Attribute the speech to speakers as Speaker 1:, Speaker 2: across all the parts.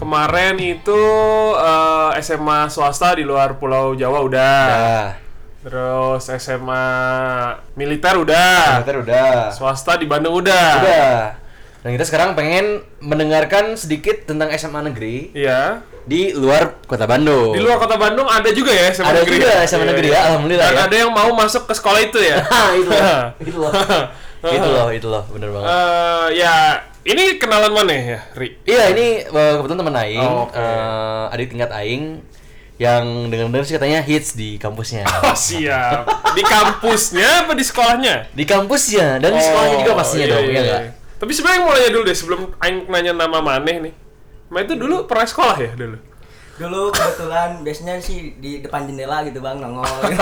Speaker 1: Kemarin itu eh, SMA swasta di luar Pulau Jawa udah.
Speaker 2: Nah,
Speaker 1: Terus SMA militer udah.
Speaker 2: ternyata udah.
Speaker 1: Swasta di Bandung udah.
Speaker 2: Udah. Dan kita sekarang pengen mendengarkan sedikit tentang SMA negeri
Speaker 1: Iya.
Speaker 2: di luar kota Bandung.
Speaker 1: Di luar kota Bandung ada juga ya SMA
Speaker 2: Ada
Speaker 1: negeri.
Speaker 2: juga SMA negeri ya, alhamdulillah
Speaker 1: Dan
Speaker 2: ya.
Speaker 1: ada yang mau masuk ke sekolah itu ya.
Speaker 2: Hah, itu loh. Itu loh. itu loh, itu loh, bener banget.
Speaker 1: Eh, ya, ini kenalan mana ya, Ri?
Speaker 2: Iya, ini eh, kebetulan teman aing,
Speaker 1: Oh, oke.
Speaker 2: eh, adik tingkat aing yang dengar-dengar sih katanya hits di kampusnya.
Speaker 1: Oh, siap. Di kampusnya apa di sekolahnya?
Speaker 2: Di kampusnya dan di sekolahnya juga pastinya
Speaker 1: iya,
Speaker 2: dong,
Speaker 1: iya, iya.
Speaker 2: ya enggak?
Speaker 1: Tapi sebenarnya mulainya dulu deh sebelum aing nanya nama maneh nih. Maneh itu dulu pernah sekolah ya dulu.
Speaker 3: Dulu kebetulan biasanya sih di depan jendela gitu bang nongol. gitu.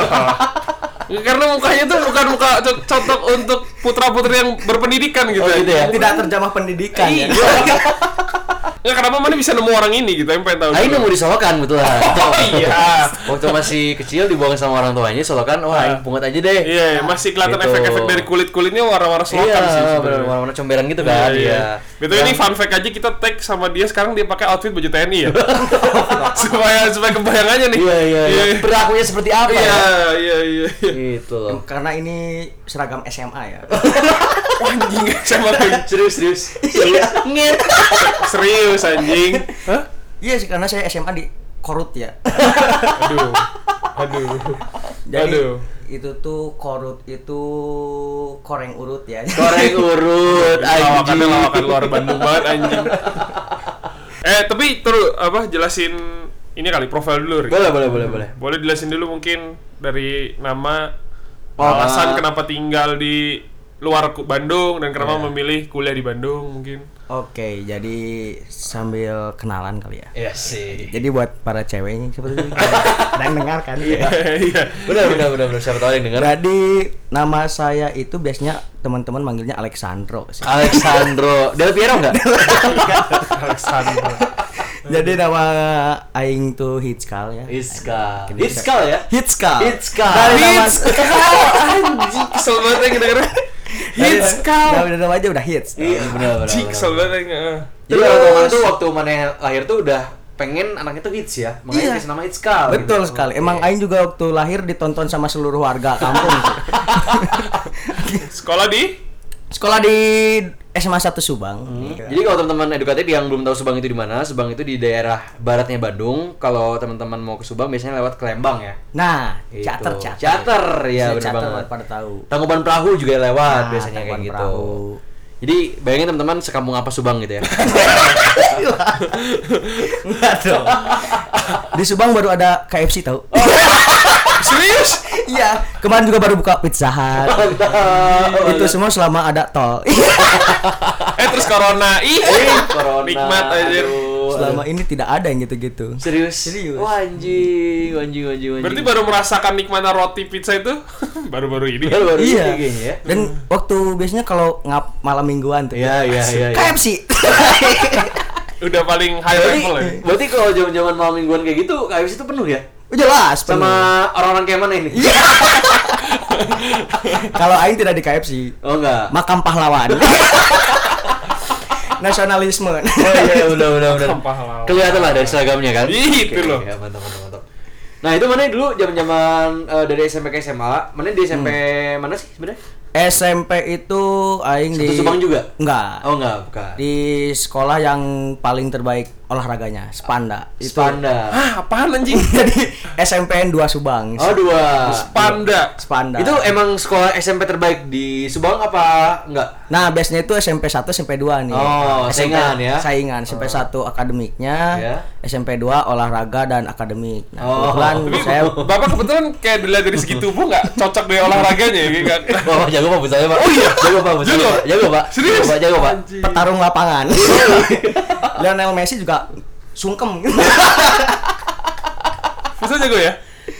Speaker 1: Ya, Karena mukanya tuh bukan muka co- cocok untuk putra-putri yang berpendidikan gitu.
Speaker 2: Oh, gitu ya?
Speaker 3: Tidak terjamah pendidikan ya.
Speaker 1: Iya. Nggak, kenapa mana bisa nemu orang ini gitu? Yang pengen tahu.
Speaker 2: Aing
Speaker 1: dulu.
Speaker 2: nemu di Solokan kebetulan.
Speaker 1: Oh, iya.
Speaker 2: Waktu masih kecil dibuang sama orang tuanya Solokan, wah aing pungut aja deh.
Speaker 1: Iya, iya, masih kelihatan
Speaker 2: Gitu.
Speaker 1: efek-efek dari kulit-kulitnya warna-warna selokan
Speaker 2: Iya,
Speaker 1: sih. sebenarnya.
Speaker 2: bener, warna-warna comberan gitu kan. Iya.
Speaker 1: Betul ini fun fact aja kita tag sama dia sekarang dia pakai outfit baju TNI ya. supaya supaya kebayang aja nih.
Speaker 2: Iya, iya, iya. Perilakunya seperti apa?
Speaker 1: Iya,
Speaker 2: ya?
Speaker 1: iya, iya. iya.
Speaker 2: Gitu loh.
Speaker 3: Karena ini seragam SMA ya.
Speaker 1: Anjing sama
Speaker 2: Serius, serius. Serius. Ngit.
Speaker 1: serius anjing. Hah?
Speaker 3: Iya sih karena saya SMA di Korut ya.
Speaker 1: Aduh. Aduh.
Speaker 3: Jadi
Speaker 1: Aduh.
Speaker 3: itu tuh Korut itu koreng urut ya.
Speaker 2: Goreng urut
Speaker 1: Lawakannya
Speaker 2: anjing.
Speaker 1: lawakan luar Bandung banget anjing. Eh, tapi terus apa jelasin ini kali profil dulu, Ri.
Speaker 2: Boleh, boleh, boleh, boleh.
Speaker 1: Boleh jelasin dulu mungkin dari nama
Speaker 2: Oh, ah.
Speaker 1: alasan kenapa tinggal di luar ku- Bandung dan
Speaker 2: Iya.
Speaker 1: kenapa memilih kuliah di Bandung mungkin.
Speaker 3: Oke, jadi sambil kenalan kali ya.
Speaker 2: Iya sih.
Speaker 3: Jadi buat para cewek ini sebetulnya ada yang dengarkan. Ya.
Speaker 1: Iya.
Speaker 2: Kan, Benar, benar, benar, benar. Siapa tahu ada yang dengar.
Speaker 3: Jadi nama saya itu biasanya teman-teman manggilnya Alexandro sih.
Speaker 1: Ah,
Speaker 2: Alexandro Del Piero enggak?
Speaker 1: Alexander.
Speaker 3: Jadi nama aing tuh Hitchkal ya.
Speaker 2: Iskal. Iskal ya?
Speaker 3: Hitchkal.
Speaker 2: Hitchkal.
Speaker 3: Dari nama
Speaker 1: Anjing kesel banget ya yang denger. Hits
Speaker 3: Hitchkal. Dari nama aja udah hits.
Speaker 2: Iya, benar, benar.
Speaker 1: Anjing
Speaker 2: benar.
Speaker 1: kesel banget yang eh.
Speaker 2: Jadi orang tua mana tuh waktu mana lahir tuh udah pengen anaknya tuh hits ya, makanya
Speaker 3: Iya.
Speaker 2: dikasih nama Hitskal.
Speaker 3: Betul
Speaker 2: gitu.
Speaker 3: sekali. Emang aing juga waktu lahir ditonton sama seluruh warga kampung sih.
Speaker 1: Sekolah di
Speaker 3: Sekolah di SMA 1 Subang. Iya.
Speaker 2: Jadi kalau teman-teman edukatif yang belum tahu Subang itu di mana, Subang itu di daerah baratnya Bandung. Kalau teman-teman mau ke Subang biasanya lewat Kelembang ya.
Speaker 3: Nah,
Speaker 2: Itu.
Speaker 3: cater cater.
Speaker 2: Cater, ya
Speaker 3: Biasanya
Speaker 2: benar
Speaker 3: cater
Speaker 2: banget.
Speaker 3: pada tahu.
Speaker 2: Tangkuban Perahu juga lewat
Speaker 3: Nah,
Speaker 2: biasanya kayak
Speaker 3: Tangkuban
Speaker 2: gitu.
Speaker 3: Perahu.
Speaker 2: Jadi bayangin teman-teman sekampung apa Subang gitu ya.
Speaker 3: Enggak dong. di Subang baru ada KFC tahu.
Speaker 2: Oh.
Speaker 1: Serius?
Speaker 3: Iya, kemarin juga baru buka Pizza
Speaker 2: Oh,
Speaker 3: Hut. Eh, Itu semua selama ada tol.
Speaker 1: Eh terus corona. Ih,
Speaker 2: Eh, Corona.
Speaker 1: Nikmat aja.
Speaker 2: aduh,
Speaker 3: selama ini tidak ada yang
Speaker 2: aduh.
Speaker 3: gitu-gitu.
Speaker 2: Serius?
Speaker 3: Serius.
Speaker 2: Wah anjing, anjing, anjing, anjing.
Speaker 1: Berarti baru merasakan nikmatnya roti pizza itu baru-baru ini.
Speaker 2: baru, baru
Speaker 3: iya.
Speaker 2: ini kayaknya ya.
Speaker 3: Dan waktu biasanya kalau ngap malam mingguan tuh.
Speaker 2: Iya, iya, iya. iya.
Speaker 3: KFC.
Speaker 1: Udah paling high
Speaker 2: Berarti,
Speaker 1: level ya.
Speaker 2: berarti kalau zaman-zaman malam mingguan kayak gitu, KFC itu penuh ya?
Speaker 3: Jelas.
Speaker 2: Sama
Speaker 3: penuh. Iya.
Speaker 2: orang-orang kayak mana ini?
Speaker 3: kalau aing tidak di KFC,
Speaker 2: Oh enggak.
Speaker 3: makam pahlawan. Nasionalisme.
Speaker 2: Oh iya, udah, udah, udah.
Speaker 1: Makam pahlawan.
Speaker 2: Kelihatan lah dari seragamnya kan.
Speaker 1: Ih, itu
Speaker 2: Oke,
Speaker 1: loh.
Speaker 2: iya, mantap, mantap, mantap. Nah itu mana dulu zaman-zaman eh, dari SMP ke SMA? Mana di SMP
Speaker 3: Hmm.
Speaker 2: mana sih sebenarnya?
Speaker 3: SMP itu aing
Speaker 2: Satu
Speaker 3: di
Speaker 2: Subang juga?
Speaker 3: Enggak.
Speaker 2: Oh enggak, bukan.
Speaker 3: Di sekolah yang paling terbaik olahraganya, Spanda. Itu-
Speaker 2: Spanda.
Speaker 1: Ah, apaan anjing?
Speaker 3: Jadi SMPN 2 Subang.
Speaker 2: Oh dua.
Speaker 1: Panda.
Speaker 3: Spanda.
Speaker 2: Itu emang sekolah SMP terbaik di Subang apa enggak?
Speaker 3: Nah, biasanya itu SMP 1, SMP 2 nih.
Speaker 2: Oh,
Speaker 3: SMP
Speaker 2: saingan ya?
Speaker 3: Saingan. SMP 1 akademiknya,
Speaker 2: Ya.
Speaker 3: SMP 2 olahraga dan akademik.
Speaker 2: Oh.
Speaker 3: Nah, kebetulan
Speaker 1: Tapi
Speaker 3: saya
Speaker 1: Bapak kebetulan kayak dilihat dari segi tubuh nggak cocok dengan olahraganya ya, kayak nggak-
Speaker 2: Bapak jago pak futsalnya pak. Oh iya, jago pak futsalnya
Speaker 1: Jago?
Speaker 2: pak. Jago pak.
Speaker 1: Serius?
Speaker 2: Jago pak, jago pak.
Speaker 3: petarung lapangan. Lionel Messi juga sungkem.
Speaker 1: Bisa jago ya?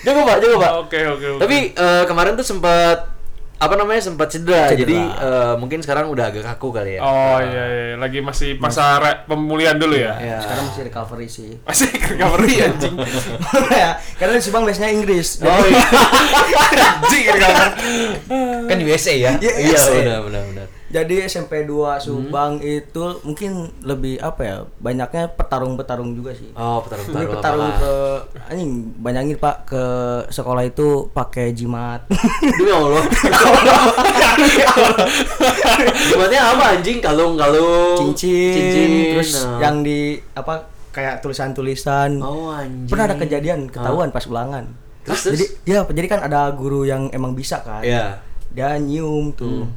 Speaker 2: Jago pak, jago pak.
Speaker 1: Oke, oke, oke.
Speaker 2: Tapi eh, kemarin tuh sempat apa namanya sempat cedera,
Speaker 3: Cedera.
Speaker 2: jadi eh, mungkin sekarang udah agak kaku kali ya.
Speaker 1: Oh iya, iya. lagi masih masa re- pemulihan dulu ya.
Speaker 2: Ya.
Speaker 3: Sekarang masih recovery sih.
Speaker 1: Masih recovery anjing.
Speaker 3: Ya, Karena di Subang biasanya Inggris.
Speaker 2: Oh iya,
Speaker 1: Anjing recovery.
Speaker 2: kan USA ya.
Speaker 3: Iya,
Speaker 2: iya
Speaker 3: USA.
Speaker 2: benar benar benar.
Speaker 3: Jadi SMP 2 Subang
Speaker 2: Hmm.
Speaker 3: itu mungkin lebih apa ya? Banyaknya petarung-petarung juga sih.
Speaker 2: Oh, petarung
Speaker 3: Ini
Speaker 2: petarung
Speaker 3: petarung
Speaker 2: apa?
Speaker 3: ke anjing banyaknya Pak ke sekolah itu pakai jimat.
Speaker 2: Demi Allah. Jimatnya apa anjing? Kalung, kalung.
Speaker 3: cincin,
Speaker 2: Cincin.
Speaker 3: terus
Speaker 2: Nah.
Speaker 3: yang di apa kayak tulisan-tulisan.
Speaker 2: Oh anjing.
Speaker 3: Pernah ada kejadian ketahuan pas ulangan.
Speaker 2: Terus,
Speaker 3: Jadi ya, jadi kan ada guru yang emang bisa kan.
Speaker 2: Iya. Hmm.
Speaker 3: Dia nyium tuh.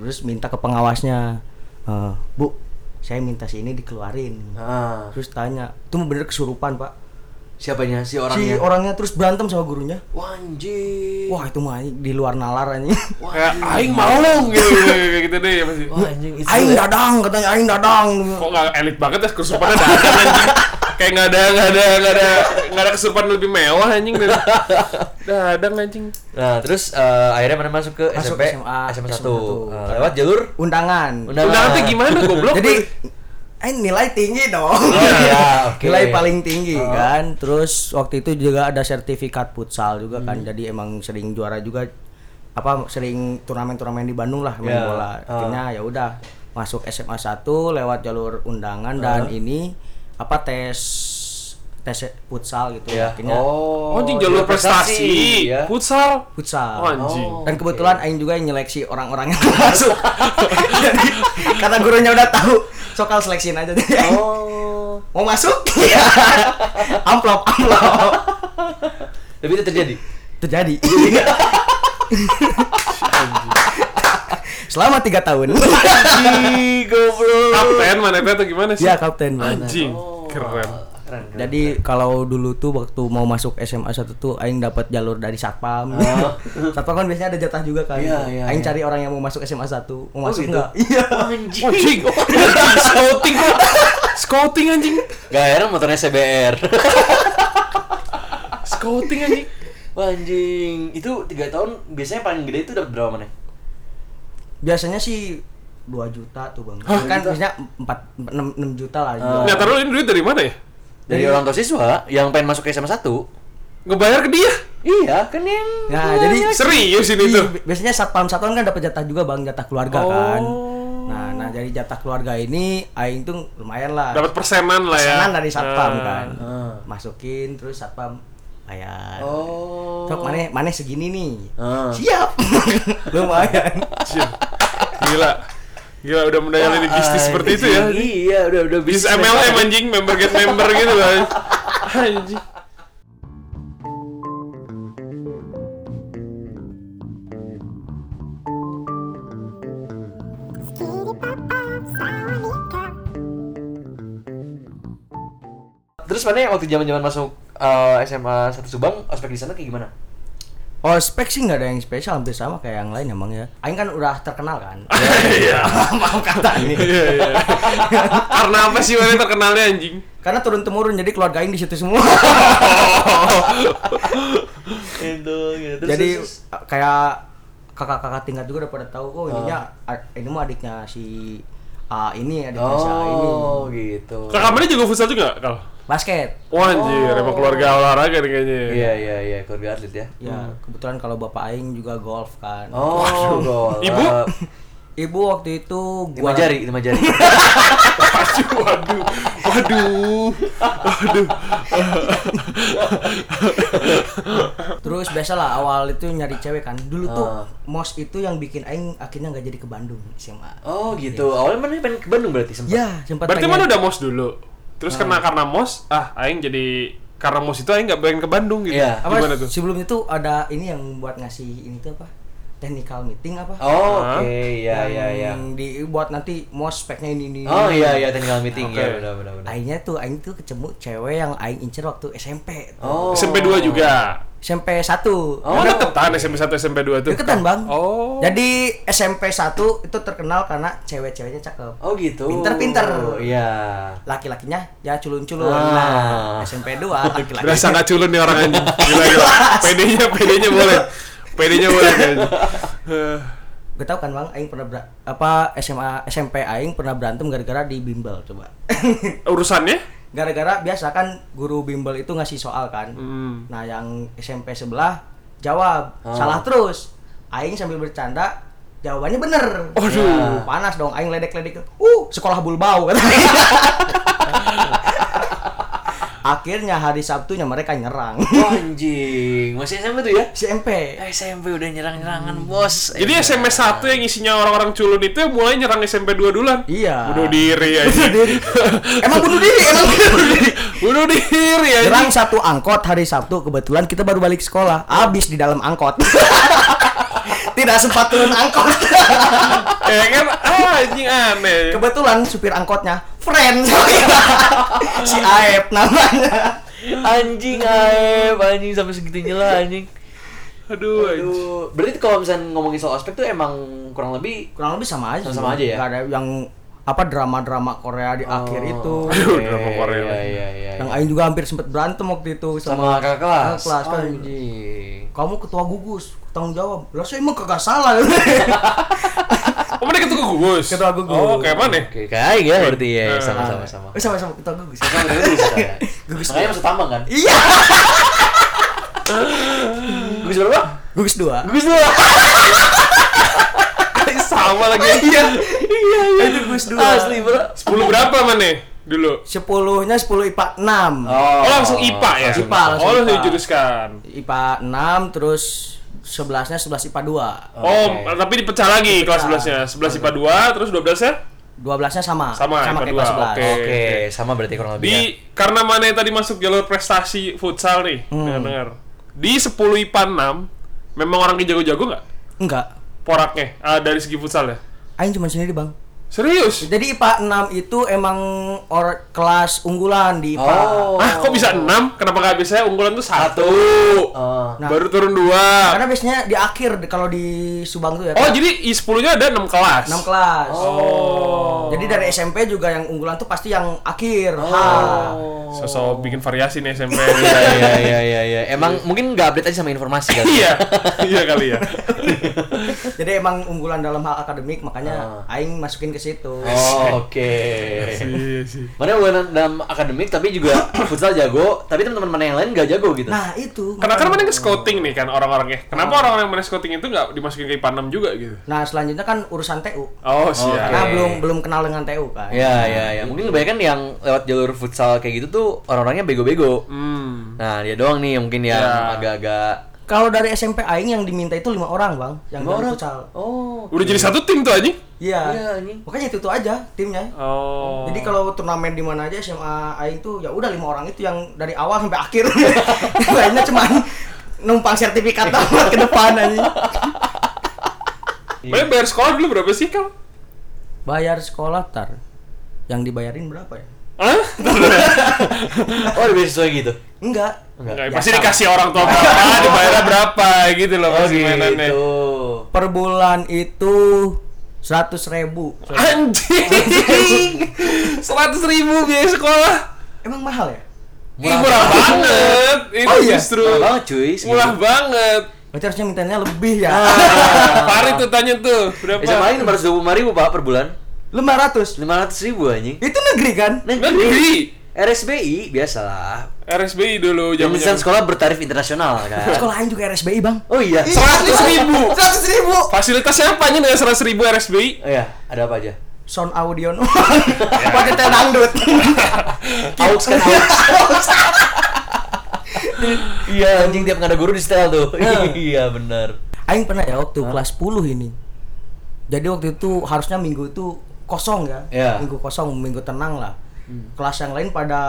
Speaker 3: Terus minta ke pengawasnya, "Eh, "Bu, saya minta si ini dikeluarin."
Speaker 2: Ah,
Speaker 3: Terus tanya, "Itu bener kesurupan, Pak?"
Speaker 2: siapanya si
Speaker 3: Si
Speaker 2: orangnya?
Speaker 3: orangnya terus berantem sama gurunya.
Speaker 2: Wah anjing.
Speaker 3: Wah, itu mah di luar nalar anjing.
Speaker 2: Wah,
Speaker 1: kayak aing mau gitu, kayak gitu deh ya pasti
Speaker 2: Wah anjing itu. ya?
Speaker 3: Aing dadang katanya aing dadang.
Speaker 1: kok nggak elit banget ya kesurupannya ada ada anjing kayak nggak ada nggak ada nggak ada nggak ada kesurupan lebih mewah anjing dari dadang anjing
Speaker 2: Nah, terus eh, akhirnya mana masuk ke
Speaker 3: Masuk
Speaker 2: SMP?
Speaker 3: SMA,
Speaker 2: SMA 1.
Speaker 3: SMA satu.
Speaker 2: Eh, lewat jalur
Speaker 3: Undangan.
Speaker 2: Undangan.
Speaker 1: udah nanti gimana goblok
Speaker 3: Jadi aing nilai tinggi
Speaker 2: Oh
Speaker 3: dong.
Speaker 2: iya, oke. Oh.
Speaker 3: Nilai paling tinggi kan. Terus waktu itu juga ada sertifikat futsal juga
Speaker 2: Hmm.
Speaker 3: kan. Jadi emang sering juara juga apa sering turnamen-turnamen di Bandung lah main
Speaker 2: Ya.
Speaker 3: bola. Akhirnya ya udah masuk SMA 1 lewat jalur undangan
Speaker 2: Ah.
Speaker 3: dan ini apa tes tes futsal gitu
Speaker 2: Ya.
Speaker 3: akhirnya
Speaker 2: Oh,
Speaker 1: oh, anjing jalur prestasi
Speaker 2: ya.
Speaker 1: futsal
Speaker 3: futsal.
Speaker 1: Oh, anjing
Speaker 2: Oh.
Speaker 3: Dan kebetulan Aing juga yang nyeleksi orang-orang yang masuk. Jadi karena gurunya udah tahu, sokal seleksiin aja deh.
Speaker 2: Oh.
Speaker 3: Mau masuk? Iya. amplop, amplop.
Speaker 2: Tapi itu terjadi.
Speaker 3: Terjadi. Selama tiga tahun.
Speaker 2: Ih, goblok.
Speaker 1: kapten mana itu atau gimana sih
Speaker 3: Iya kapten benar.
Speaker 1: anjing keren
Speaker 2: Keren. keren.
Speaker 3: Jadi kalau dulu tuh waktu mau masuk SMA 1 tuh aing dapat jalur dari satpam. satpam kan biasanya ada jatah juga kan.
Speaker 2: Iya, iya,
Speaker 3: aing
Speaker 2: iya.
Speaker 3: cari orang yang mau masuk SMA 1. Mau
Speaker 2: Oh,
Speaker 3: masuk
Speaker 2: gitu?
Speaker 3: nggak? Iya.
Speaker 2: Anjing.
Speaker 1: anjing anjing scouting scouting anjing
Speaker 2: Gak heran motornya CBR.
Speaker 1: scouting anjing
Speaker 2: Wah anjing, itu tiga tahun biasanya paling gede itu dapat berapa mana?
Speaker 3: biasanya sih 2 juta tuh bang kan biasanya 4 6, juta lah
Speaker 2: Ah.
Speaker 1: nggak taruh ini duit dari mana ya
Speaker 2: Dari orang tua siswa yang pengen masuk ke SMA 1
Speaker 1: ngebayar ke dia
Speaker 2: Iya, kan yang
Speaker 3: nah jadi
Speaker 1: serius ini
Speaker 3: Ih,
Speaker 1: tuh
Speaker 3: bi- biasanya satpam satpam kan dapat jatah juga bang jatah keluarga kan
Speaker 1: Oh.
Speaker 3: nah nah dari jatah keluarga ini aing tuh lumayan lah
Speaker 1: dapat persenan lah ya
Speaker 3: pesanan Ah. dari satpam
Speaker 1: Ah.
Speaker 3: kan
Speaker 2: Ah.
Speaker 3: masukin terus satpam bayar
Speaker 2: Oh.
Speaker 3: Sok, Nah, mana mana segini nih
Speaker 2: Ah.
Speaker 3: siap lumayan
Speaker 1: Anjir. Gila. Gila udah mendayani
Speaker 2: Wah,
Speaker 1: bisnis seperti itu ya.
Speaker 2: anjing. Ah, Iya, udah udah
Speaker 1: Bisnis MLM anjing, member get member gitu lah. Anjing.
Speaker 2: Terus mana yang waktu zaman-zaman masuk eh, SMA 1 Subang, ospek di sana kayak gimana?
Speaker 3: Ospek Oh, sih nggak ada yang spesial, hampir sama kayak yang lain emang ya. Aing kan udah terkenal kan.
Speaker 1: Iya.
Speaker 3: Mau kata nih.
Speaker 1: Iya, iya. Karena apa sih mana terkenalnya anjing?
Speaker 3: Karena turun temurun jadi keluarga Aing di situ semua.
Speaker 2: Itu gitu.
Speaker 3: jadi kayak kakak-kakak tingkat juga udah pada tahu oh ininya ad- ini mah adiknya si A ini adiknya si A ini.
Speaker 2: Oh, gitu.
Speaker 1: Kakak mana juga futsal juga, Kal?
Speaker 3: Basket.
Speaker 1: Wah
Speaker 2: Oh.
Speaker 1: anjir, emang keluarga olahraga nih kayaknya.
Speaker 2: Iya, iya, iya, keluarga atlet ya.
Speaker 3: Ya, kebetulan kalau bapak aing juga golf kan.
Speaker 2: Oh, gol.
Speaker 1: Ibu?
Speaker 3: Ibu waktu itu
Speaker 2: lima
Speaker 3: gua
Speaker 2: jari, lima jari.
Speaker 1: Waduh, waduh, waduh, waduh.
Speaker 3: Terus biasalah awal itu nyari cewek kan. Dulu tuh
Speaker 2: Ah.
Speaker 3: mos itu yang bikin aing akhirnya nggak jadi ke Bandung SMA.
Speaker 2: Oh, gitu. Awalnya mana pengen ke Bandung Iya. berarti sempat.
Speaker 3: Ya, sempat
Speaker 1: Berarti
Speaker 3: pengen-
Speaker 1: mana udah mos dulu? Terus karena karena mos, ah aing jadi karena mos itu aing nggak pengen ke Bandung gitu.
Speaker 2: Iya.
Speaker 3: apa
Speaker 1: Gimana tuh?
Speaker 3: sebelumnya tuh ada ini yang buat ngasih ini tuh apa technical meeting apa
Speaker 2: Oh,
Speaker 1: Hah?
Speaker 2: oke. Iya, iya, iya.
Speaker 3: yang dibuat nanti mau speknya ini ini
Speaker 2: Oh, iya, iya, technical meeting.
Speaker 1: Oke.
Speaker 2: Ya, benar, benar, benar.
Speaker 3: akhirnya tuh aing tuh ketemu cewek yang aing incer waktu SMP
Speaker 2: Oh.
Speaker 1: SMP 2 juga.
Speaker 3: SMP 1
Speaker 2: Oh.
Speaker 1: Oh, deketan SMP 1 SMP 2 tuh.
Speaker 3: deketan bang
Speaker 1: Oh.
Speaker 3: jadi SMP 1 itu terkenal karena cewek-ceweknya cakep
Speaker 2: Oh, gitu.
Speaker 3: Pinter-pinter.
Speaker 2: Iya.
Speaker 3: laki-lakinya ya culun-culun
Speaker 2: Ah.
Speaker 3: nah SMP 2 laki-laki
Speaker 1: Berasa nggak culun nih orang anjing. Gila gila. PD-nya PD-nya boleh. PD-nya boleh anjing. Eh,
Speaker 3: gue tau kan bang aing pernah bera- apa SMA SMP aing pernah berantem gara-gara di bimbel coba
Speaker 1: urusannya?
Speaker 3: gara-gara biasa kan guru bimbel itu ngasih soal kan
Speaker 1: Hmm.
Speaker 3: nah yang SMP sebelah jawab salah terus Aing sambil bercanda Jawabannya bener.
Speaker 1: Aduh.
Speaker 3: Nah, panas dong aing ledek-ledek. Uh, sekolah bulbau kata. Akhirnya hari Sabtunya mereka nyerang.
Speaker 2: Anjing, masih SMP tuh ya?
Speaker 3: SMP.
Speaker 2: SMP udah nyerang-nyerangan, Bos. Iya.
Speaker 1: Jadi SMP 1 yang isinya orang-orang culun itu mulai nyerang SMP 2 duluan.
Speaker 3: Iya.
Speaker 1: Bunuh diri aja.
Speaker 3: Bunuh diri. Emang bunuh diri, emang bunuh diri.
Speaker 1: Bunuh diri aja.
Speaker 3: Nyerang satu angkot hari Sabtu kebetulan kita baru balik sekolah. Abis di dalam angkot. Tidak sempat turun angkot.
Speaker 1: Ya kan ah, anjing aneh.
Speaker 3: Kebetulan supir angkotnya friend si Aep namanya.
Speaker 2: anjing aib, anjing sampai segitunya lah anjing.
Speaker 1: Aduh, anjing.
Speaker 2: Aduh, berarti kalau misalnya ngomongin soal ospek tuh emang kurang lebih
Speaker 3: Kurang lebih sama aja.
Speaker 2: Sama-sama aja ya? Oh.
Speaker 3: Gak ada yang apa drama-drama Korea di akhir itu.
Speaker 1: Aduh, drama Korea
Speaker 2: Korea. Iya,
Speaker 1: lagi.
Speaker 2: iya, iya.
Speaker 3: Yang Aing juga hampir sempet berantem waktu itu sama,
Speaker 2: Sama kakak kelas.
Speaker 3: kakak kelas, kan.
Speaker 2: Anjing.
Speaker 3: kamu ketua gugus tanggung jawab. Lah saya emang kagak salah.
Speaker 1: Oh, mereka tuh gugus.
Speaker 3: Ketua gugus.
Speaker 1: Oh, kayak mana?
Speaker 2: Oke, kayak ya berarti ya,
Speaker 1: Eh.
Speaker 2: sama-sama sama.
Speaker 3: Eh, sama-sama ketua gugus.
Speaker 2: Nah, Gugus. gitu ya. Makanya masuk tambang kan?
Speaker 3: Iya.
Speaker 2: Gugus berapa?
Speaker 3: Gugus dua.
Speaker 2: Gugus dua.
Speaker 1: Sama lagi. Iya.
Speaker 2: Iya,
Speaker 3: Eh,
Speaker 2: iya. Itu gugus dua. Asli, bro.
Speaker 1: 10 berapa mana dulu?
Speaker 3: Sepuluhnya sepuluh IPA enam.
Speaker 1: Oh, langsung IPA ya?
Speaker 2: Langsung
Speaker 3: IPA, langsung
Speaker 1: oh, langsung
Speaker 3: IPA.
Speaker 1: dijuruskan.
Speaker 3: IPA enam terus sebelasnya sebelas IPA dua.
Speaker 1: Oh,
Speaker 2: Oke.
Speaker 1: tapi dipecah lagi kelas 11-nya. 11 IPA 2, terus ya? 12-nya
Speaker 3: Dua belasnya sama.
Speaker 1: Sama, IPA
Speaker 3: sama kayak IPA
Speaker 1: dua,
Speaker 3: sebelas.
Speaker 1: oke.
Speaker 2: Oke, sama berarti kurang lebih.
Speaker 1: di
Speaker 2: ya.
Speaker 1: karena mana tadi masuk jalur prestasi futsal nih, dengar-dengar. Di 10 IPA 6, memang orang yang jago-jago nggak?
Speaker 3: Enggak.
Speaker 1: Poraknya ah, dari segi futsal ya?
Speaker 3: Aing cuma sendiri bang.
Speaker 1: Serius?
Speaker 3: Jadi IPA 6 itu emang or kelas unggulan di IPA.
Speaker 2: Oh.
Speaker 1: Ah, kok bisa 6? Kenapa nggak biasanya unggulan tuh satu?
Speaker 2: Oh.
Speaker 3: Nah.
Speaker 1: Baru turun dua.
Speaker 3: Karena biasanya di akhir di- kalau di Subang tuh ya.
Speaker 1: Oh, jadi I 10-nya ada 6 kelas.
Speaker 3: 6 kelas.
Speaker 1: Oh.
Speaker 3: Jadi dari SMP juga yang unggulan tuh pasti yang akhir. H.
Speaker 1: Sosok bikin variasi nih SMP.
Speaker 2: Iya, iya, iya, iya. Emang mungkin nggak update aja sama informasi kan?
Speaker 1: Iya. Iya kali ya.
Speaker 3: Jadi emang unggulan dalam hal akademik makanya aing masukin ke situ.
Speaker 2: Oh, oke.
Speaker 1: Iya sih.
Speaker 2: Mana bukan dalam akademik tapi juga futsal jago, tapi teman-teman mana yang lain nggak jago gitu.
Speaker 3: Nah, itu.
Speaker 1: Karena kan mana scouting nih kan orang-orangnya. Kenapa orang-orang yang mana scouting itu nggak dimasukin ke IPA 6 juga gitu?
Speaker 3: Nah, selanjutnya kan urusan TU.
Speaker 1: Oh, siap.
Speaker 3: Karena
Speaker 2: Oke.
Speaker 3: belum belum kenal dengan TU kan.
Speaker 2: Ya, ya, ya. Mungkin kebanyakan yang lewat jalur futsal kayak gitu tuh orang-orangnya bego-bego.
Speaker 1: Hmm.
Speaker 2: Nah, dia doang nih yang mungkin yang
Speaker 1: Ya.
Speaker 2: agak-agak
Speaker 3: Kalau dari SMP aing yang diminta itu lima orang, Bang, yang dari futsal.
Speaker 2: Oh.
Speaker 1: Udah jadi satu tim tuh anjing.
Speaker 3: Iya.
Speaker 2: Iya, anjing.
Speaker 3: Makanya itu tuh aja timnya.
Speaker 1: Oh.
Speaker 3: Jadi kalau turnamen di mana aja SMA aing tuh ya udah lima orang itu yang dari awal sampai akhir. Lainnya cuman numpang sertifikat doang ke depan aja.
Speaker 1: Mana bayar sekolah dulu berapa sih kau?
Speaker 3: Bayar sekolah tar. Yang dibayarin berapa ya?
Speaker 1: Hah?
Speaker 2: Oh, udah biasa gitu.
Speaker 3: Enggak.
Speaker 1: Nggak,
Speaker 3: Ya,
Speaker 1: pasti
Speaker 3: sama.
Speaker 1: dikasih orang tua berapa, dibayar berapa gitu loh
Speaker 2: Oh,
Speaker 1: pasti mainannya.
Speaker 2: gitu.
Speaker 3: Per bulan itu 100.000 ribu.
Speaker 1: Anjing. Seratus ribu biaya sekolah.
Speaker 3: Emang mahal ya?
Speaker 1: Ih, murah banget. Itu
Speaker 3: Oh, iya?
Speaker 1: justru
Speaker 2: Murah banget, cuy. segitu.
Speaker 1: murah banget.
Speaker 3: Berarti harusnya mintanya lebih ya.
Speaker 1: Ah, Farid tuh tanya tuh berapa?
Speaker 2: SMA lain 525 ribu pak per bulan
Speaker 3: 500.
Speaker 2: 500 ribu anjing
Speaker 3: Itu negeri kan?
Speaker 1: Negeri.
Speaker 2: RSBI biasalah
Speaker 1: RSBI dulu
Speaker 2: Yang
Speaker 1: jaman-jaman.
Speaker 2: sekolah bertarif internasional kan
Speaker 3: Sekolah lain juga RSBI, Bang.
Speaker 2: Oh iya
Speaker 1: Iya. 100.000.
Speaker 3: 100.000.
Speaker 1: Fasilitasnya apa aja dengan seratus ribu RSBI?
Speaker 2: Oh iya ada apa aja
Speaker 3: Sound audio no. Pakai tel dangdut.
Speaker 2: Aux kan aux Iya anjing tiap nggak ada guru di setel tuh Iya benar
Speaker 3: Aing pernah ya waktu kelas 10 ini. Jadi waktu itu harusnya minggu itu kosong ya.
Speaker 2: Iya. Hmm.
Speaker 3: Minggu kosong, minggu tenang lah. Kelas yang lain pada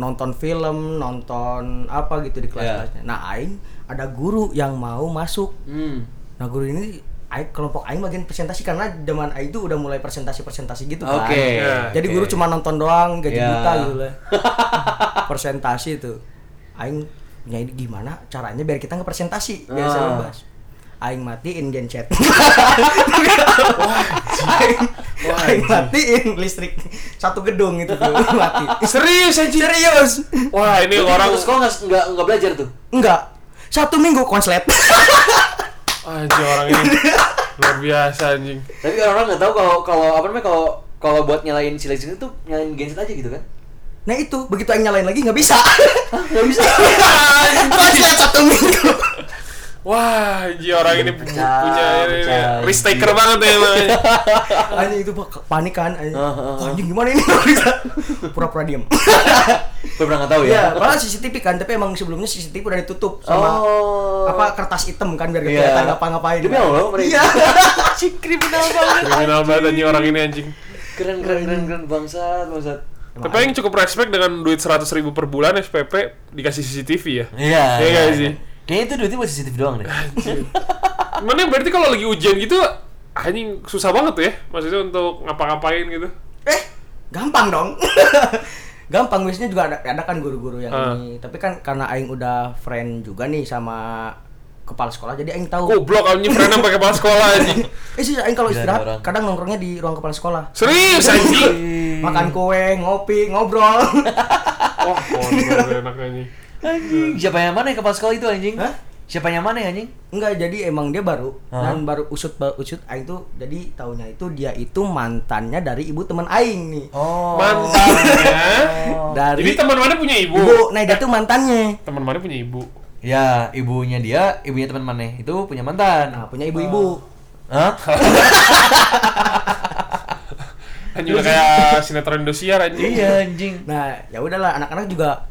Speaker 3: nonton film, nonton apa gitu di
Speaker 2: Iya.
Speaker 3: kelas-kelasnya. Nah, aing ada guru yang mau masuk.
Speaker 2: Hmm
Speaker 3: Nah, guru ini aing kelompok aing bagian presentasi karena zaman aing itu udah mulai presentasi-presentasi gitu kan.
Speaker 2: Oke
Speaker 1: Iya.
Speaker 3: Jadi guru cuma nonton doang gaji
Speaker 2: Ya.
Speaker 3: buta gitu lah. Presentasi itu. Aing punya ide gimana caranya biar kita ngepresentasi biar saya
Speaker 2: Ah.
Speaker 3: bebas. Aing matiin gen chat. Aing, Aing matiin listrik satu gedung itu tuh mati.
Speaker 1: Serius anjing.
Speaker 3: Serius?
Speaker 1: Wah, ini
Speaker 2: Berarti
Speaker 1: orang
Speaker 2: putus sekolah nggak nggak nggak belajar tuh
Speaker 3: Enggak. Satu minggu konslet.
Speaker 1: Ah, anjing orang ini luar biasa anjing.
Speaker 2: Tapi orang-orang nggak tahu kalau kalau apa namanya kalau kalau buat nyalain seleksi itu nyalain genset aja gitu kan?
Speaker 3: Nah itu begitu Aing nyalain lagi nggak bisa.
Speaker 2: Hah, nggak bisa.
Speaker 3: Konslet satu minggu.
Speaker 1: Wah, anjir orang ini pu-
Speaker 2: Pecah,
Speaker 1: punya ini, ini.
Speaker 2: pecah.
Speaker 1: risk taker banget ya emang.
Speaker 3: Anjing itu bak- panik kan anjing.
Speaker 2: Ah, ah,
Speaker 3: Wah, Anjing gimana ini? Pura-pura diem.
Speaker 2: Gue pernah nggak tahu ya.
Speaker 3: Iya, padahal CCTV kan, tapi emang sebelumnya CCTV udah ditutup sama
Speaker 2: oh.
Speaker 3: apa kertas hitam kan biar gak
Speaker 2: Iya.
Speaker 3: kelihatan ngapa-ngapain.
Speaker 2: Demi Allah, mereka.
Speaker 3: Iya.
Speaker 2: Si kriminal banget.
Speaker 1: Kriminal banget anjing orang ini anjing.
Speaker 2: Keren keren keren keren bangsat bangsat.
Speaker 1: Tapi yang cukup respect dengan duit 100 ribu per bulan FPP dikasih CCTV ya.
Speaker 2: Iya.
Speaker 1: Iya nggak sih?
Speaker 2: Kayaknya itu duitnya buat CCTV doang deh.
Speaker 1: Mana berarti kalau lagi ujian gitu anjing susah banget tuh ya maksudnya untuk ngapa-ngapain gitu.
Speaker 3: Eh, gampang dong. gampang biasanya juga ada, ada kan guru-guru yang
Speaker 1: Ah.
Speaker 3: ini. Tapi kan karena aing udah friend juga nih sama kepala sekolah, jadi aing tahu.
Speaker 1: Goblok anjing pernah pakai kepala sekolah anjing.
Speaker 3: Eh sih aing kalau
Speaker 2: Gila, ada orang.
Speaker 3: istirahat kadang nongkrongnya di ruang kepala sekolah.
Speaker 1: Serius anjing.
Speaker 3: Makan kue, ngopi, ngobrol.
Speaker 1: Wah, kontol enak anjing.
Speaker 2: Anjing, siapa yang mana yang kepala sekolah itu anjing?
Speaker 3: Hah?
Speaker 2: Siapa yang mana ya anjing?
Speaker 3: Enggak, jadi emang dia baru
Speaker 2: Ah.
Speaker 3: dan baru usut baru usut aing tuh jadi taunya itu dia itu mantannya dari ibu teman aing nih.
Speaker 2: Oh.
Speaker 1: Mantannya.
Speaker 3: Dari
Speaker 1: ya. Jadi teman mana punya ibu?
Speaker 3: ibu. Nah, dia tuh mantannya.
Speaker 1: Teman mana punya ibu?
Speaker 2: Ya, ibunya dia, ibunya teman maneh itu punya
Speaker 3: Nah,
Speaker 2: mantan.
Speaker 1: Oh.
Speaker 3: punya ibu-ibu.
Speaker 2: Hah?
Speaker 1: Anjing udah Kan kayak sinetron Indosiar anjing.
Speaker 2: iya anjing.
Speaker 3: Nah, ya udahlah anak-anak juga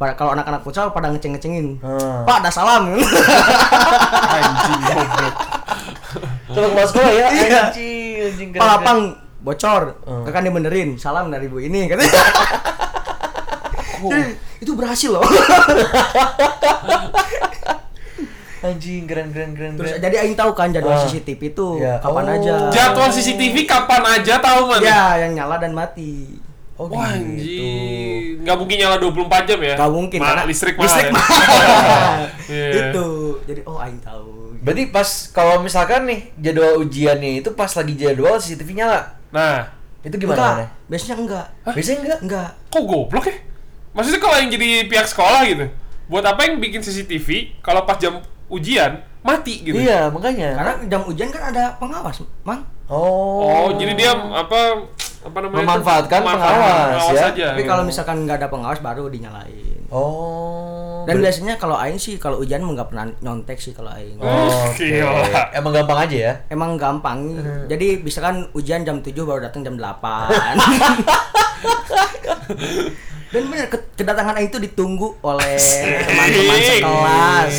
Speaker 3: pada kalau anak-anak futsal pada ngeceng-ngecengin.
Speaker 1: Oh.
Speaker 2: Ah.
Speaker 3: Pak, ada salam.
Speaker 1: Anjing goblok.
Speaker 2: Coba kepala sekolah ya,
Speaker 3: Iya.
Speaker 2: anjing, anjing. keren,
Speaker 3: Pak
Speaker 2: keren.
Speaker 3: lapang bocor.
Speaker 1: Oh.
Speaker 2: Ah.
Speaker 3: Kakak dibenerin. Salam dari ibu ini katanya. Jadi, itu berhasil loh.
Speaker 1: Iya.
Speaker 2: Anjing, keren keren keren.
Speaker 3: Terus
Speaker 2: keren.
Speaker 3: jadi aing tahu kan jadwal
Speaker 2: Ah.
Speaker 3: CCTV itu
Speaker 2: Iya.
Speaker 3: kapan
Speaker 2: Oh.
Speaker 3: aja.
Speaker 1: Oh. Jadwal CCTV kapan aja tahu man?
Speaker 3: Ya, yang nyala dan mati.
Speaker 2: Oh,
Speaker 1: Wah
Speaker 2: gitu.
Speaker 1: anjing, nggak mungkin nyala 24 jam ya?
Speaker 3: Gak gitu. mungkin
Speaker 1: Ma-
Speaker 3: karena
Speaker 1: listrik mahal.
Speaker 3: listrik
Speaker 1: ya?
Speaker 3: mahal.
Speaker 1: Iya.
Speaker 3: Itu. Jadi oh aing tahu.
Speaker 2: Berarti pas kalau misalkan nih jadwal ujiannya itu pas lagi jadwal CCTV nyala.
Speaker 1: Nah,
Speaker 2: Itu
Speaker 3: enggak,
Speaker 2: gimana? Maneh?
Speaker 3: biasanya enggak.
Speaker 2: Biasanya enggak?
Speaker 3: Enggak.
Speaker 1: kok goblok ya? Maksudnya kalau yang jadi pihak sekolah gitu, buat apa yang bikin CCTV kalau pas jam ujian mati gitu?
Speaker 2: Iya, makanya.
Speaker 3: Karena jam ujian kan ada pengawas, Mang.
Speaker 1: Oh,
Speaker 2: Oh.
Speaker 1: jadi dia apa apa namanya? itu?
Speaker 2: Memanfaatkan
Speaker 1: Memanfaatkan
Speaker 2: pengawas, ya.
Speaker 1: aja.
Speaker 3: Tapi
Speaker 1: gitu.
Speaker 3: kalau misalkan nggak ada pengawas baru dinyalain.
Speaker 2: Oh.
Speaker 3: Dan
Speaker 2: Ber-
Speaker 3: biasanya kalau aing sih kalau hujan emang nggak pernah nyontek sih kalau aing.
Speaker 2: Oh,
Speaker 1: Oke.
Speaker 2: oke. Emang gampang aja ya?
Speaker 3: Emang gampang.
Speaker 2: Eh.
Speaker 3: Jadi misalkan ujian jam 7 baru datang jam 8. Dan bener ke- kedatangan aing itu ditunggu oleh teman-teman sekelas.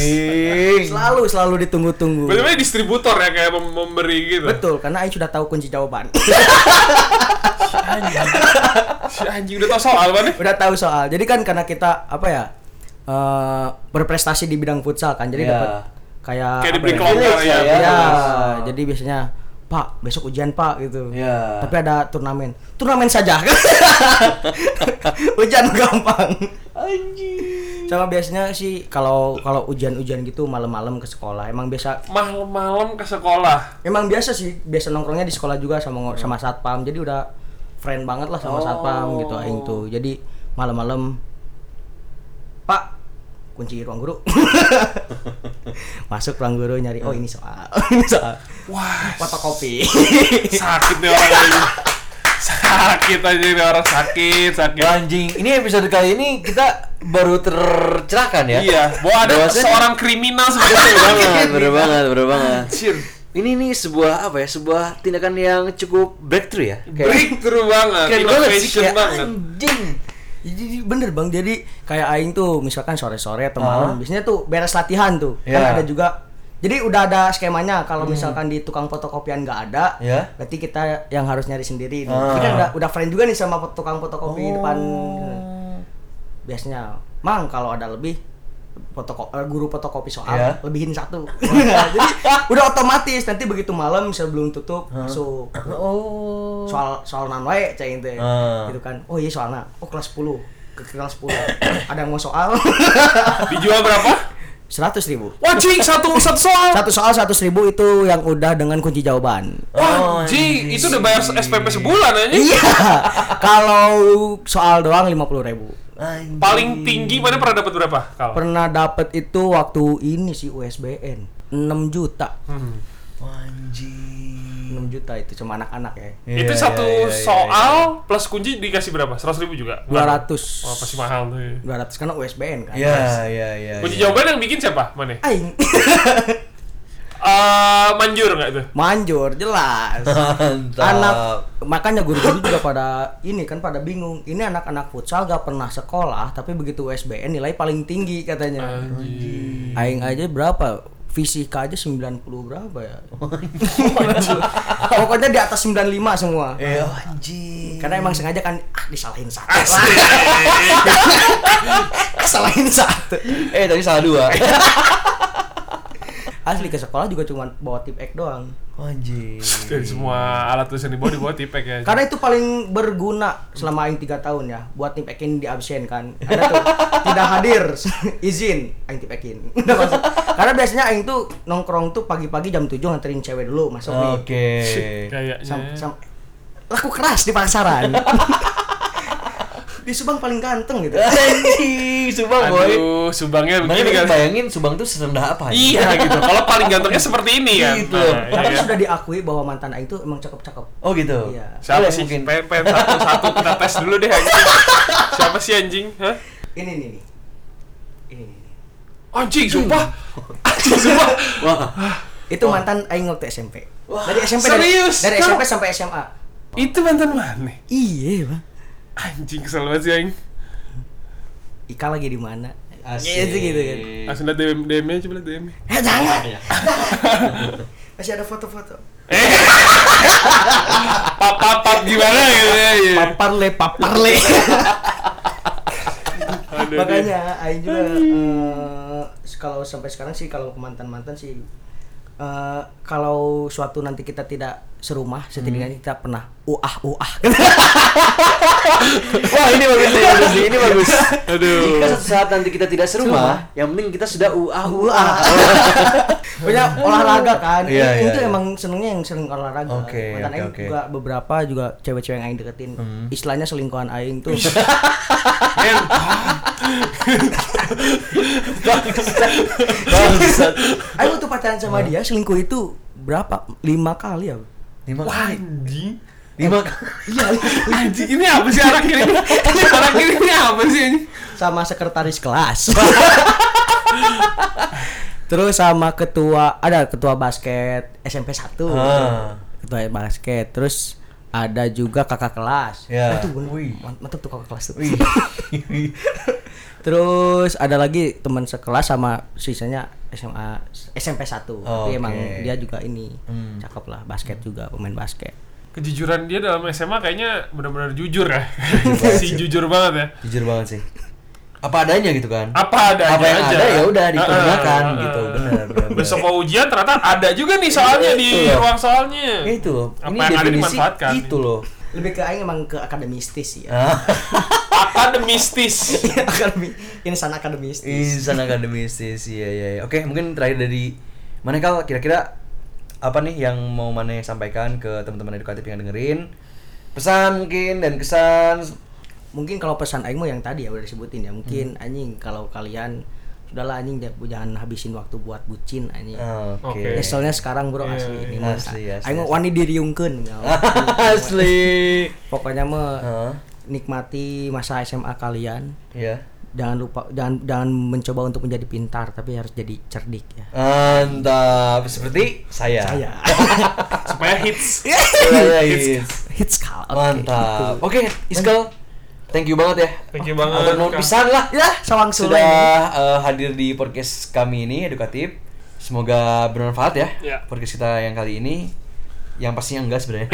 Speaker 3: Selalu selalu ditunggu-tunggu.
Speaker 1: Berarti dia distributor ya kayak mem- memberi gitu.
Speaker 3: Betul, karena aing sudah tahu kunci jawaban.
Speaker 1: Si anjing udah tau soal banget.
Speaker 3: udah tahu soal. Jadi kan karena kita apa ya? eh, berprestasi di bidang futsal kan. Jadi
Speaker 2: Iya.
Speaker 3: dapat kayak
Speaker 1: Kayak
Speaker 3: apa
Speaker 1: diberi
Speaker 3: ya?
Speaker 1: kelompok
Speaker 2: Iya,
Speaker 1: ya.
Speaker 2: iya.
Speaker 3: Ya,
Speaker 2: Ah.
Speaker 3: jadi biasanya Pak, besok ujian Pak gitu.
Speaker 2: Iya.
Speaker 3: Tapi ada turnamen. Turnamen saja. ujian gampang.
Speaker 2: Anjing.
Speaker 3: Sama biasanya sih kalau kalau ujian-ujian gitu malam-malam ke sekolah. Emang biasa
Speaker 1: Malam-malam ke sekolah.
Speaker 3: emang biasa sih, biasa nongkrongnya di sekolah juga sama
Speaker 2: Iya.
Speaker 3: ngo- sama satpam. Jadi udah friend banget lah sama satpam
Speaker 2: Oh.
Speaker 3: gitu aing tuh. Jadi malam-malam Pak kunci ruang guru masuk ruang guru nyari oh ini soal ini soal
Speaker 1: Wah,
Speaker 3: fotokopi
Speaker 1: sakit nih orang ini. Sakit aja nih orang sakit, sakit.
Speaker 2: Wah, Ya, anjing. Ini episode kali ini kita baru tercerahkan ya.
Speaker 1: Iya, bahwa ada
Speaker 2: Bahwasanya- Iya,
Speaker 1: seorang kriminal seperti
Speaker 2: Bener
Speaker 1: itu.
Speaker 2: banget, bener banget, bener banget.
Speaker 1: Anjir.
Speaker 2: Ini nih sebuah apa ya? Sebuah tindakan yang cukup breakthrough ya.
Speaker 1: Breakthrough banget,
Speaker 2: keren banget sih,
Speaker 1: innovation
Speaker 2: kayak
Speaker 1: banget.
Speaker 2: anjing.
Speaker 3: Iya, Jadi bener bang, jadi kayak Aing tuh misalkan sore-sore atau
Speaker 2: Ah.
Speaker 3: malam, biasanya tuh beres latihan tuh,
Speaker 2: Iya. Hmm.
Speaker 3: kan ada juga. Jadi udah ada skemanya kalau misalkan di tukang fotokopian nggak ada,
Speaker 2: Iya.
Speaker 3: berarti kita yang harus nyari sendiri. Nih.
Speaker 2: Ah.
Speaker 3: Kita udah, udah friend juga nih sama tukang fotokopi depan. gitu.
Speaker 2: Oh.
Speaker 3: Biasanya, mang kalau ada lebih fotoko- eh, guru fotokopi soal
Speaker 2: Iya.
Speaker 3: lebihin satu. Nah, jadi udah otomatis nanti begitu malam sebelum tutup masuk
Speaker 2: Oh.
Speaker 3: soal soal nan wae cah itu
Speaker 2: Ah.
Speaker 3: gitu kan oh iya soalnya oh kelas 10 ke kelas 10 ada yang mau soal
Speaker 1: Dijual berapa?
Speaker 3: seratus ribu
Speaker 1: Wah, cing, satu satu soal.
Speaker 3: satu soal seratus ribu itu yang udah dengan kunci jawaban
Speaker 1: Wah, anjing, itu udah bayar SPP sebulan aja.
Speaker 3: iya kalau soal doang lima puluh ribu
Speaker 2: Anjing.
Speaker 1: Paling tinggi mana pernah dapat berapa? Kalau
Speaker 3: pernah dapet itu waktu ini sih USBN 6 juta
Speaker 1: Hmm.
Speaker 2: Anjing.
Speaker 3: 6 juta itu cuma anak-anak ya
Speaker 1: itu
Speaker 2: Iya,
Speaker 1: satu
Speaker 2: iya, iya,
Speaker 1: soal plus kunci dikasih berapa? Seratus ribu juga?
Speaker 3: dua
Speaker 1: Berapa?
Speaker 3: ratus Oh, Iya,
Speaker 1: Wah, pasti mahal tuh. ya.
Speaker 3: dua ratus karena USBN kan
Speaker 2: Iya, iya, iya.
Speaker 1: Kunci
Speaker 2: iya.
Speaker 1: jawaban yang bikin siapa? Mana?
Speaker 3: aing
Speaker 1: eh, manjur nggak itu?
Speaker 3: Manjur jelas.
Speaker 2: Mantap.
Speaker 3: Anak makanya guru-guru juga pada ini kan pada bingung. Ini anak-anak futsal gak pernah sekolah tapi begitu USBN nilai paling tinggi katanya. Aing aja berapa? Fisika aja 90 berapa ya? Pokoknya di atas 95 semua.
Speaker 2: Eh, anjing.
Speaker 3: Karena emang sengaja kan ah disalahin satu. Kesalahin satu.
Speaker 2: Eh, tadi salah dua.
Speaker 3: Asli ke sekolah juga cuma bawa tip ek doang.
Speaker 2: anjing.
Speaker 1: Dari semua alat tulis yang dibawa dibawa tipek ya.
Speaker 3: Karena itu paling berguna selama aing 3 tahun ya buat tipekin di absen kan. Ada tuh tidak hadir izin aing tipekin. Udah masuk. Karena biasanya aing tuh nongkrong tuh pagi-pagi jam 7 nganterin cewek dulu masuk nih.
Speaker 2: Oke.
Speaker 1: Kayaknya.
Speaker 3: Sam, sam- laku keras di pasaran. di Subang paling ganteng gitu.
Speaker 2: Anjing, Subang boy.
Speaker 1: Aduh, subangnya
Speaker 2: Makanya
Speaker 1: begini
Speaker 2: lu
Speaker 1: kan.
Speaker 2: bayangin Subang tuh serendah apa ya?
Speaker 1: Iya gitu. Kalau paling gantengnya seperti ini kan.
Speaker 2: Gitu.
Speaker 1: iya
Speaker 3: Tapi
Speaker 1: kan?
Speaker 3: sudah diakui bahwa mantan aing tuh emang cakep-cakep.
Speaker 2: Oh gitu.
Speaker 3: Iya.
Speaker 1: Siapa
Speaker 2: Boleh
Speaker 1: sih?
Speaker 2: mungkin.
Speaker 1: Pen, pen, satu, satu. Kita tes dulu deh anjing. Siapa sih anjing? Hah?
Speaker 3: Ini nih nih. Ini nih. nih.
Speaker 1: Anjing, sumpah. Anjing, sumpah.
Speaker 2: Wah.
Speaker 3: Itu mantan aing waktu SMP.
Speaker 2: Wah,
Speaker 3: dari SMP dari-
Speaker 1: serius?
Speaker 3: dari,
Speaker 1: Kamu-
Speaker 3: SMP sampai SMA.
Speaker 1: Itu mantan mana?
Speaker 3: Iya, Bang.
Speaker 1: Anjing, kesel banget sih anjing.
Speaker 3: Ika lagi di mana?
Speaker 2: Asik.
Speaker 3: Gitu, gitu kan.
Speaker 1: Langsung liat DM, DM-nya, coba liat DM-nya.
Speaker 3: Eh jangan. Masih ada foto-foto.
Speaker 1: Pap, pap, pap, gimana gitu ya. iya.
Speaker 3: Paparle, paparle.
Speaker 1: Aduh, dia.
Speaker 3: Makanya Aing juga eh, kalau sampai sekarang sih kalau ke mantan-mantan sih eh, kalau suatu nanti kita tidak serumah,
Speaker 2: Hmm.
Speaker 3: setidaknya kita pernah uah uah.
Speaker 2: Wah, ini bagus ini bagus nih, ini bagus.
Speaker 1: Aduh.
Speaker 2: Jika suatu saat nanti kita tidak serumah, yang penting kita sudah uah uah.
Speaker 3: Punya olahraga kan.
Speaker 2: Iya,
Speaker 3: Aing
Speaker 2: iya,
Speaker 3: itu
Speaker 2: iya.
Speaker 3: emang senengnya yang sering olahraga.
Speaker 2: Oke,
Speaker 3: Mantan
Speaker 2: oke,
Speaker 3: Aing
Speaker 2: oke. Hmm.
Speaker 3: juga beberapa juga cewek-cewek yang Aing deketin. Istilahnya selingkuhan Aing tuh.
Speaker 1: Men,
Speaker 2: Bangsat.
Speaker 3: Aing waktu pacaran sama
Speaker 2: Nah.
Speaker 3: dia selingkuh itu berapa? Lima kali ya?
Speaker 2: Lima
Speaker 1: Wah, anjing.
Speaker 2: Lima kali.
Speaker 3: Iya.
Speaker 1: Anjing, ini apa sih arah kiri? Arah kiri ini apa sih anjing?
Speaker 3: sama sekretaris kelas. Terus sama ketua ada ketua basket SMP 1.
Speaker 2: Ah.
Speaker 3: Ketua basket. Terus ada juga kakak kelas.
Speaker 2: Ya.
Speaker 3: Itu bener.
Speaker 2: Wih.
Speaker 3: Mant- Mantap tuh kakak kelas tuh. Terus ada lagi teman sekelas sama sisanya SMA SMP 1. Tapi
Speaker 2: Oke. Hmm.
Speaker 3: emang dia juga ini cakep lah basket juga pemain basket.
Speaker 1: Kejujuran dia dalam SMA kayaknya benar-benar jujur ya. si jujur banget ya.
Speaker 2: Jujur banget sih. Apa adanya gitu kan?
Speaker 1: Apa adanya
Speaker 2: Apa yang
Speaker 1: aja.
Speaker 2: ada ya udah
Speaker 1: Ah, ah,
Speaker 2: dipergunakan
Speaker 1: ah,
Speaker 2: gitu.
Speaker 1: ah.
Speaker 2: Benar, benar. benar.
Speaker 1: Besok mau ujian ternyata ada juga nih soalnya di
Speaker 2: Iya.
Speaker 1: ruang soalnya.
Speaker 2: Ya itu loh.
Speaker 1: Apa yang ada dimanfaatkan?
Speaker 2: Itu loh.
Speaker 3: Lebih ke aing emang ke akademistis ya.
Speaker 2: Ah,
Speaker 1: Akademistis.
Speaker 3: Iya, Akademi insan akademistis.
Speaker 2: Insan akademistis. Iya, iya, iya. Oke, mungkin terakhir dari mana kal kira-kira apa nih yang mau mana sampaikan ke teman-teman edukatif yang dengerin? Pesan mungkin dan kesan.
Speaker 3: mungkin kalau pesan aing mah yang tadi ya udah disebutin ya mungkin
Speaker 2: Hmm.
Speaker 3: anjing kalau kalian sudahlah anjing dia- jangan habisin waktu buat bucin anjing
Speaker 2: Ah, Oke.
Speaker 1: Oke.
Speaker 2: Iya,
Speaker 3: Nyeselnya sekarang bro asli ini mah.
Speaker 2: Asli, asli,
Speaker 3: aing mah
Speaker 2: asli.
Speaker 3: wani diriungkeun ya.
Speaker 2: Asli.
Speaker 3: pokoknya mah
Speaker 2: Heeh.
Speaker 3: nikmati masa SMA kalian
Speaker 2: Iya.
Speaker 3: jangan lupa jangan jangan mencoba untuk menjadi pintar tapi harus jadi cerdik ya Ah,
Speaker 2: Mantap. Seperti saya. Iya,
Speaker 3: saya
Speaker 1: Supaya hits.
Speaker 2: Saya Is.
Speaker 3: hits kal oke. gitu.
Speaker 2: Mantap. Oke, Iskal. Thank you banget ya.
Speaker 1: Thank you banget,
Speaker 2: Hampir mau
Speaker 1: Kak.
Speaker 2: pisan lah.
Speaker 3: ya sawang
Speaker 2: Sudah
Speaker 3: sudah
Speaker 2: eh, hadir di podcast kami ini edukatif. Semoga bermanfaat ya.
Speaker 1: Ya.
Speaker 2: Podcast kita yang kali ini yang pastinya enggak sebenarnya.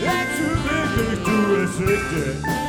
Speaker 4: That's too big to resist it.